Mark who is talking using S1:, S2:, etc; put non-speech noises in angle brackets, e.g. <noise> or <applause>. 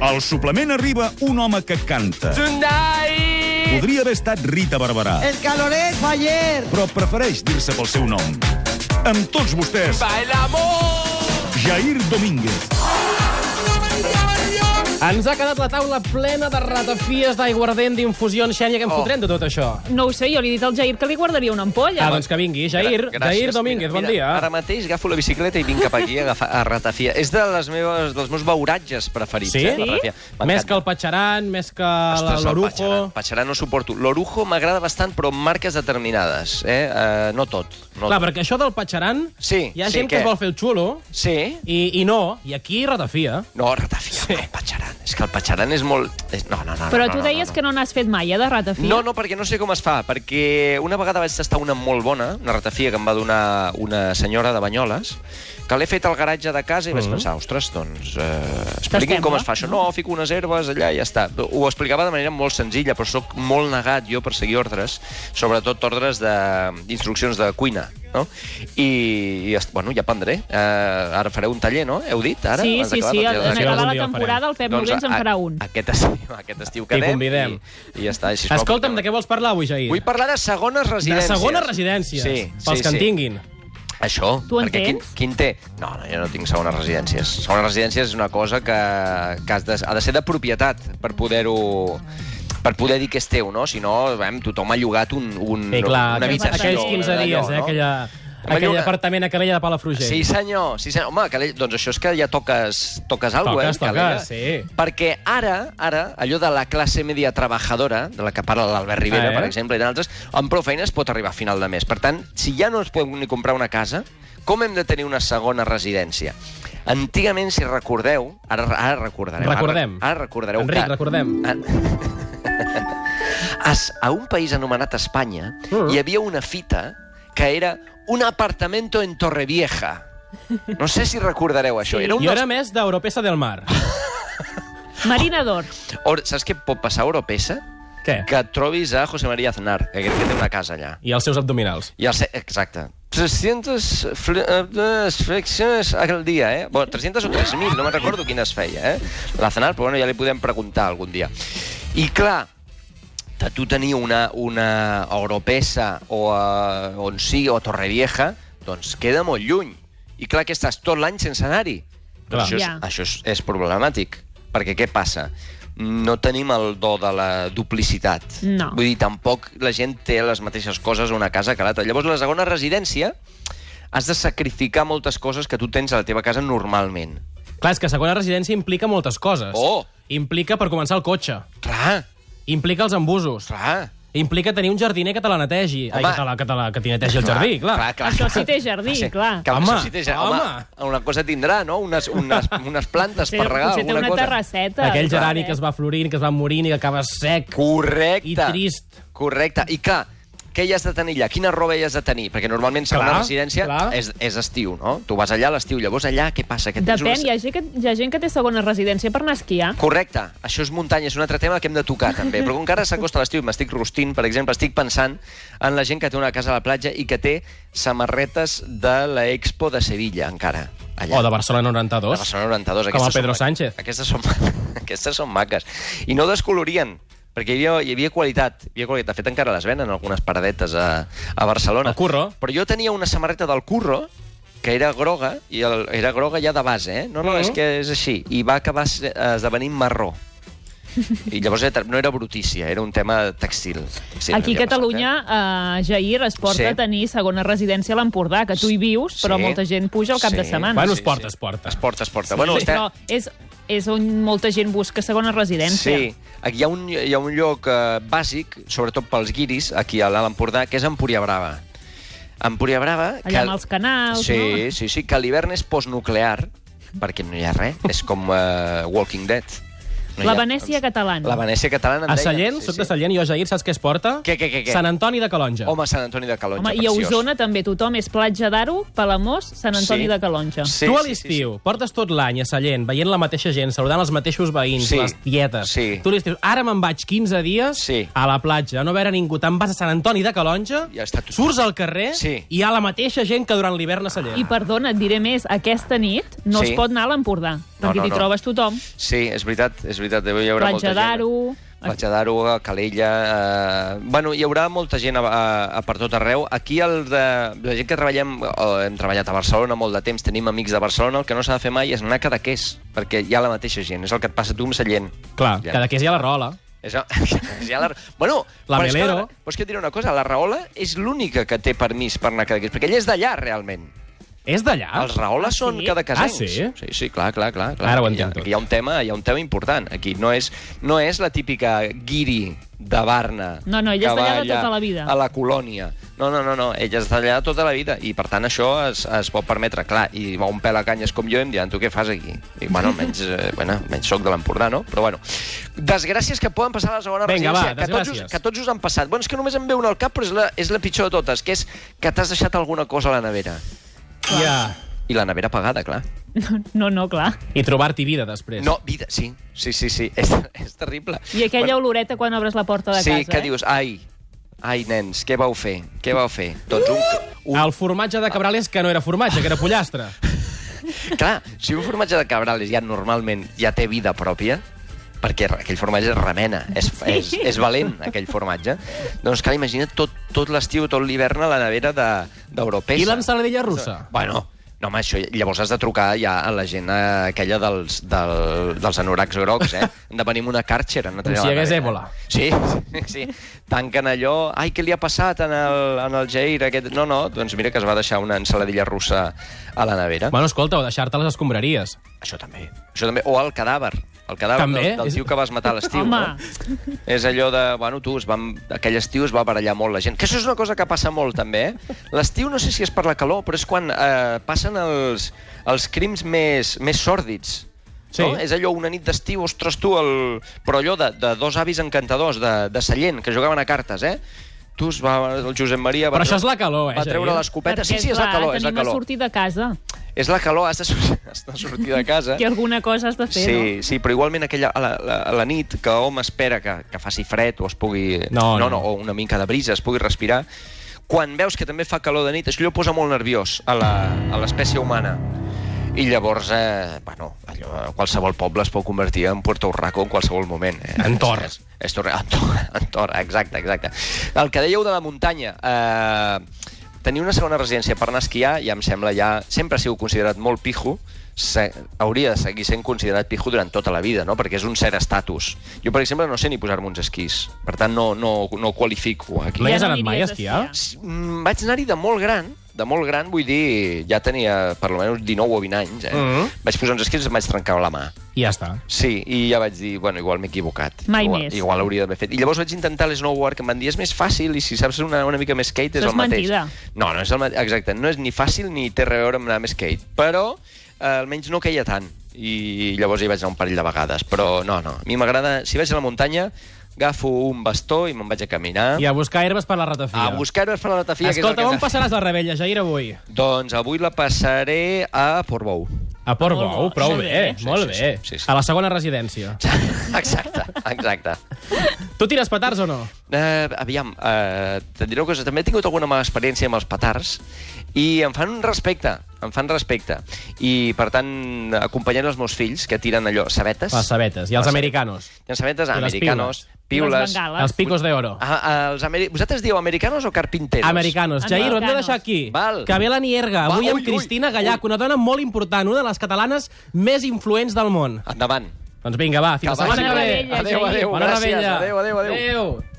S1: Al suplement arriba un home que canta. Podria haver estat Rita Barberà,
S2: El caloret fue ayer.
S1: però prefereix dir-se pel seu nom. Amb tots vostès, Jair Domínguez.
S3: Ens ha quedat la taula plena de ratafies, d'aiguardent, d'infusions, Xènia,
S4: Oh.
S3: que en fotrem de tot això.
S5: No ho sé, jo li he dit al Jair que li guardaria una ampolla.
S3: Ah, doncs que vingui, Jair.
S4: Gràcies.
S3: Jair Domínguez,
S4: Mira,
S3: bon
S4: mira,
S3: dia.
S4: Ara mateix agafo la bicicleta i vinc cap aquí a, agafar, a ratafia. És de les meves, dels meus beuratges preferits,
S3: Sí?
S4: eh, la
S3: Sí?
S4: ratafia.
S3: Més
S4: M'encanta.
S3: que el Patxaran, més que
S4: Ostres, el
S3: l'Orujo...
S4: Patxaran. Patxaran no suporto. L'orujo m'agrada bastant, però amb marques determinades. Eh? Uh, no tot. No
S3: Clar,
S4: tot.
S3: perquè això del Patxaran...
S4: Sí,
S3: Hi ha
S4: sí,
S3: gent que
S4: què?
S3: es vol fer el xulo
S4: Sí?
S3: i, i no, i aquí ratafia.
S4: No, ratafia,
S3: Sí.
S4: sí. el Patxaran. És que el Patxaran és molt... és- No, no, no.
S5: Però
S4: no,
S5: tu
S4: no,
S5: deies
S4: no, no.
S5: que no n'has fet mai, eh, de ratafia.
S4: No, no, perquè no sé com es fa, perquè una vegada vaig tastar una molt bona, una ratafia que em va donar una senyora de Banyoles, que l'he fet al garatge de casa i
S5: Mm.
S4: vaig pensar, ostres, doncs, eh, expliqui'm com
S5: Tastem-la,
S4: es fa això. No, fico unes herbes allà i ja està. Ho explicava de manera molt senzilla, però sóc molt negat jo per seguir ordres, sobretot ordres de- d'instruccions de, cuina. No? I, i est- bueno, ja aprendré. Eh, ara fareu un taller, no? Heu dit? Ara?
S5: Sí,
S4: Abans
S5: sí,
S4: d'acabar?
S5: sí,
S4: Doncs ja-
S5: en
S3: Sí, algun
S5: acabar la
S3: dia el
S5: temporada el Pep Noguens en
S4: Doncs a-
S5: farà un.
S4: Aquest estiu, <laughs> aquest estiu quedem
S3: convidem.
S4: I, i ja està. I, sisplau,
S3: Escolta'm,
S4: porteu-
S3: de què vols parlar avui, Jair?
S4: Vull parlar de segones
S3: de
S4: residències.
S3: segones residències,
S4: Sí,
S3: pels
S4: sí,
S3: que
S4: sí.
S3: en tinguin.
S4: Això,
S5: Tu en
S4: perquè quin,
S5: tens?
S4: quin té? No, no, jo no tinc segones residències. Segones residències és una cosa que, que has de, ha de ser de propietat per poder-ho per poder dir que és teu, no? Si no, vam, tothom ha llogat un, un,
S3: Sí, clar,
S4: Mm, una
S3: aquells,
S4: habitació.
S3: aquells 15
S4: d'allò,
S3: dies, eh, aquella, aquell
S4: Mallorca.
S3: apartament a Calella de Palafrugell.
S4: Sí, senyor. Sí, senyor. Home, Calella, doncs això és que ja toques, toques alguna
S3: Toques,
S4: cosa, eh, Calella?
S3: toques, sí.
S4: Perquè ara, ara, allò de la classe media trabajadora, de la que parla l'Albert Rivera,
S3: Ah, eh?
S4: per exemple, i d'altres, amb prou feines pot arribar a final de mes. Per tant, si ja no ens podem ni comprar una casa, com hem de tenir una segona residència? Antigament, si recordeu, ara, ara recordareu...
S3: Recordem.
S4: Ara, ara recordareu
S3: Enric,
S4: que...
S3: recordem.
S4: <laughs> Es- a un país anomenat Espanya
S3: Mm.
S4: hi havia una fita que era un apartamento en Torrevieja. No sé si recordareu això. Era un
S3: Jo era
S4: dels...
S3: més d'Europesa del Mar.
S5: Marina d'Or.
S4: Or, saps què pot passar a Oropesa?
S3: Què?
S4: Que et trobis a José María Aznar, que crec que té una casa allà.
S3: I els seus abdominals.
S4: I el... se- Exacte. 300 fle- eh, eh, flexiones al dia, eh? Bueno, 300 o 3.000, no me'n recordo quines feia, eh? L'Aznar, però bueno, ja li podem preguntar algun dia. I clar, de tu tenir una, una Oropesa o a on sí, o a Torrevieja, doncs queda molt lluny. I clar que estàs tot l'any sense anar-hi.
S3: Clar.
S4: Doncs Això, és,
S5: Ja.
S4: això és, és problemàtic, perquè què passa? No tenim el do de la duplicitat.
S5: No.
S4: Vull dir, tampoc la gent té les mateixes coses a una casa que a l'altra. Llavors, la segona residència has de sacrificar moltes coses que tu tens a la teva casa normalment.
S3: Clar, és que segona residència implica moltes coses.
S4: Oh!
S3: Implica, per començar, el cotxe.
S4: Clar,
S3: Implica els embusos.
S4: clar.
S3: Implica tenir un jardiner que te la netegi. Ai,
S4: Home.
S3: que te la, que te la que t'hi netegi el jardí, clar.
S5: Això sí té jardí, clar.
S4: Que
S3: Home,
S4: home, sí té, ja- home,
S3: home.
S4: una cosa tindrà, no? Unes, unes, unes plantes
S5: Potser,
S4: per regar,
S5: potser té
S4: alguna
S5: una
S4: cosa. Doncs
S5: terrasseta.
S3: Aquell
S5: clar,
S3: gerani
S5: eh?
S3: que es va florint, que es va morint i que acaba sec.
S4: Correcte.
S3: I trist.
S4: Correcte. I clar, què hi has de tenir allà? Quina roba hi has de tenir? Perquè normalment segona
S3: Clar,
S4: residència
S3: clar.
S4: és, és estiu, no? Tu vas allà a l'estiu, llavors allà què passa? Que tens
S5: Depèn,
S4: una-
S5: hi ha, gent que, hi ha gent que té segona residència per anar a esquiar.
S4: Correcte, això és muntanya, és un altre tema que hem de tocar també, però com que ara s'acosta l'estiu i m'estic rostint, per exemple, estic pensant en la gent que té una casa a la platja i que té samarretes de la Expo de Sevilla encara. Allà.
S3: O de Barcelona 92.
S4: De Barcelona 92.
S3: Com el
S4: Aquestes
S3: Pedro
S4: són maques.
S3: Sánchez.
S4: Aquestes són, ma- <laughs> aquestes són maques. I no descolorien, perquè hi havia, hi havia qualitat. Hi havia qualitat. De fet, encara les venen algunes paradetes a, a Barcelona.
S3: El Curro.
S4: Però jo tenia una samarreta del Curro, que era groga, i el, era groga ja de base, eh? No, no,
S3: Mhm.
S4: és que és així. I va acabar se- esdevenint marró. I llavors era- no era brutícia, era un tema textil.
S5: Sí,
S4: Sí,
S5: Aquí a
S4: havia
S5: Catalunya, eh, Jair, es porta
S4: Sí.
S5: sí. a tenir segona residència a l'Empordà, que tu hi vius, però
S4: Sí.
S5: molta gent puja al cap
S4: Sí.
S5: de setmana.
S3: Bueno,
S4: Sí,
S3: es porta, es porta.
S4: Es porta, es porta. bueno,
S5: sí, però és, és on molta gent busca segona residència.
S4: Sí, aquí hi ha un, hi ha un lloc eh, bàsic, sobretot pels guiris, aquí a l'Alt Empordà, que és Empúria Brava. Empúria Brava...
S5: Allà amb els canals,
S4: sí,
S5: no?
S4: Sí, sí, que l'hivern és postnuclear, perquè no hi ha res, és com eh, Walking Dead. No hi
S5: la
S4: ha-
S5: Venècia catalana.
S4: La Venècia catalana. em
S3: A
S4: deien.
S3: Sallent,
S4: Sí,
S3: soc de
S4: sí.
S3: Sallent, i jo, Jair, saps què es porta?
S4: Què, què, què, què?
S3: Sant Antoni de Calonja.
S4: Home, Sant Antoni de Calonja,
S5: Home, i a
S4: preciós.
S5: Osona també tothom és Platja d'Aro, Palamós, Sant Antoni
S4: Sí.
S5: de Calonja.
S4: Sí,
S3: tu a
S4: sí, sí, sí.
S3: l'estiu portes tot l'any a Sallent veient la mateixa gent, saludant els mateixos veïns,
S4: Sí,
S3: les tietes.
S4: sí.
S3: Tu a l'estiu, ara me'n vaig 15 dies
S4: Sí.
S3: a la platja, a no veure ningú. Te'n vas a Sant Antoni de Calonja,
S4: I està tothom.
S3: surts al carrer
S4: Sí.
S3: i hi ha la mateixa gent que durant l'hivern a Sallent.
S5: I perdona, et diré més, aquesta nit no
S4: Sí.
S5: es pot anar a l'Empordà, perquè
S4: no,
S5: t'hi
S4: no.
S5: trobes tothom.
S4: Sí, és veritat, és veritat, deu hi haurà
S5: Platja
S4: molta gent.
S5: d'Aro...
S4: Platja d'Aro, a Calella... Eh... Bueno, hi haurà molta gent a, a, a per tot arreu. Aquí el de... la gent que treballem, o hem treballat a Barcelona molt de temps, tenim amics de Barcelona, el que no s'ha de fer mai és anar a Cadaqués, perquè hi ha la mateixa gent, és el que et passa a tu amb Sallent.
S3: Clar,
S4: Ja.
S3: ja. cada que és ja la rola.
S4: És, és <laughs> ja la... Bueno,
S3: La
S4: però és que
S3: Melero.
S4: la- Però és que et diré una cosa, la Rahola és l'única que té permís per anar a Cadaqués, perquè ella és d'allà, realment.
S3: És d'allà?
S4: Ah, els Rahola
S5: Ah,
S4: ah,
S5: sí?
S4: són sí? cadacasencs.
S3: Ah, sí?
S4: Sí, sí, clar, clar, clar. clar.
S3: Ara ho
S4: Aquí hi ha-
S3: entenc tot.
S4: Aquí hi ha un tema, hi ha un tema important. Aquí no és, no és la típica guiri de Barna.
S5: No, no, ella
S4: que
S5: és d'allà
S4: va
S5: de tota la vida.
S4: A la colònia. No, no, no, no, ella és d'allà de tota la vida i, per tant, això es, es pot permetre. Clar, i va un pèl a canyes com jo i em diran, tu què fas aquí?
S3: <laughs>
S4: Dic, bueno, almenys, eh, bueno, almenys soc de l'Empordà, no? Però, bueno, desgràcies que poden passar a la segona
S3: Vinga, va,
S4: residència. que, tots us,
S3: desgràcies.
S4: que tots us han passat. Bueno, és que només em ve una al cap, però és la, és la pitjor de totes, que és que t'has deixat alguna cosa a la nevera.
S3: Ja.
S4: I la nevera apagada, clar.
S5: No, no, clar.
S3: I trobar-t'hi vida després.
S4: No, vida, sí, sí, sí, sí. És, <laughs> és terrible.
S5: I aquella oloreta quan obres la porta de
S4: sí,
S5: casa,
S4: que
S5: eh?
S4: dius, ai, ai, nens, què vau fer? Què vau fer? Doncs un... <laughs> un...
S3: El formatge de Cabrales, que no era formatge, que era
S4: <laughs>
S3: pollastre.
S4: Clar, si un formatge de cabrales ja normalment ja té vida pròpia, perquè aquell formatge es remena, és, és, és valent, aquell formatge, doncs clar, imagina't tot, tot l'estiu, tot l'hivern a la nevera de- d'europesa.
S3: I l'ensaladilla russa.
S4: Bueno, no, home, això, llavors has de trucar ja a la gent eh, aquella dels, del, dels anoracs grocs,
S3: <laughs>
S4: eh? Han de venir amb una càrxera. No
S3: Com si hi hagués èbola.
S4: Sí, sí, <laughs> Tanquen allò... Ai, què li ha passat en el, en el Jair? Aquest... No, no, doncs mira que es va deixar una ensaladilla russa a la nevera.
S3: Bueno, escolta, o deixar-te a les escombraries.
S4: Això també. Això també. O el cadàver. El cadàver
S3: També?
S4: del, del
S3: És-
S4: tio que vas matar a l'estiu.
S5: Home.
S4: No? És allò de... Bueno, tu, es van, aquell estiu es va barallar molt la gent. Que això és una cosa que passa molt, també, eh? L'estiu no sé si és per la calor, però és quan eh, passen els, els crims més, més sòrdids.
S3: Sí.
S4: No? És allò, una nit d'estiu, ostres tu, el... però allò de, de dos avis encantadors de, de Sallent, que jugaven a cartes, eh? Tu es va, el Josep Maria... Va
S3: Però això és la calor, eh,
S4: Va treure
S3: Jair?
S4: l'escopeta. Sí,
S5: Perquè,
S4: sí, és la
S5: clar,
S4: calor, és la
S5: t'anima a
S4: calor.
S5: sortir de casa,
S4: És la calor, has de, sur- has de sortir de
S5: <laughs>
S4: casa.
S5: que alguna cosa has de fer,
S4: Eh? Sí, sí, però igualment aquella, a la, la, a la nit que hom espera que, que faci fred o es pugui...
S3: No,
S4: no,
S3: no.
S4: o una mica de brisa, es pugui respirar, quan veus que també fa calor de nit, això allò posa molt nerviós a la- a l'espècie humana. I llavors, eh, bueno, allò, qualsevol poble es pot convertir en Puerto Urraco en qualsevol moment. Eh?
S3: En Tor.
S4: És, és, és, en, <laughs> Tor, en Tor, exacte, exacte. El que dèieu de la muntanya, eh, tenir una segona residència per anar a esquiar ja em sembla ja... Sempre ha sigut considerat molt pijo, se, hauria de seguir sent considerat pijo durant tota la vida, no? perquè és un cert estatus. Jo, per exemple, no sé ni posar-me uns esquís, per tant, no, no, no qualifico aquí.
S3: No hi has
S5: Ja no
S3: anat mai a
S5: aniries a
S3: esquiar?
S5: esquiar.
S4: S- mm, vaig anar-hi de molt gran, de molt gran, vull dir, ja tenia per almenys 19 o 20 anys, eh?
S3: Mhm.
S4: Vaig posar uns esquís i em vaig trencar la mà.
S3: I ja està.
S4: Sí, i ja vaig dir, bueno, igual m'he equivocat.
S5: Mai
S4: igual,
S5: més.
S4: Igual hauria d'haver fet. I llavors vaig intentar l'esnowboard, que em van dir, és més fàcil, i si saps una, una mica més skate és
S5: Això
S4: el
S5: és
S4: mateix.
S5: mentida.
S4: No, no és el mateix, exacte. No és ni fàcil ni té res a veure amb anar amb skate, però eh, almenys no caia tant. I llavors hi vaig anar un parell de vegades, però no, no. A mi m'agrada, si vaig a la muntanya, agafo un bastó i me'n vaig a caminar.
S3: I a buscar herbes per la ratafia.
S4: Ah. A buscar-ho per la Natafia, que és el
S3: Escolta,
S4: que
S3: on
S4: ens-
S3: passaràs la rebella, Jair, avui?
S4: Doncs avui la passaré a Portbou.
S3: A Port
S5: Molt
S3: Bou,
S5: bo.
S3: prou
S5: Sí,
S3: bé,
S4: sí,
S3: molt
S4: sí,
S3: bé.
S4: sí, sí, sí.
S3: A la segona residència.
S4: <laughs> Exacte, exacte.
S3: Tu tires petards o no?
S4: Uh, aviam, uh, et diré una cosa, també he tingut alguna mala experiència amb els petards i em fan un respecte, em fan respecte. I, per tant, acompanyant els meus fills, que tiren allò, sabetes.
S3: Les sabetes i els americanos.
S4: Tiren sabetes
S3: I les
S4: americanos,
S5: I les
S4: piules.
S5: bengales.
S3: Els picos de oro.
S4: Ah, ah, els ameri... Vosaltres dieu americanos o carpinteros?
S3: Americanos. Jair, ho hem de
S5: Americanos.
S3: deixar aquí.
S4: Val.
S3: Que ve la Nierga, avui
S4: Va,
S3: amb
S4: ui, ui,
S3: Cristina Gallac,
S4: ui.
S3: una dona molt important, una de les catalanes més influents del món.
S4: Endavant.
S3: Doncs vinga, va, fins la
S4: Que vagi
S3: setmana que
S4: bé.
S3: ve.
S5: Rebella,
S4: Adéu,
S5: Jair.
S4: adéu,
S3: Bona
S4: gràcies.
S3: rebella.
S4: Adéu, adéu, adéu.
S3: Adéu.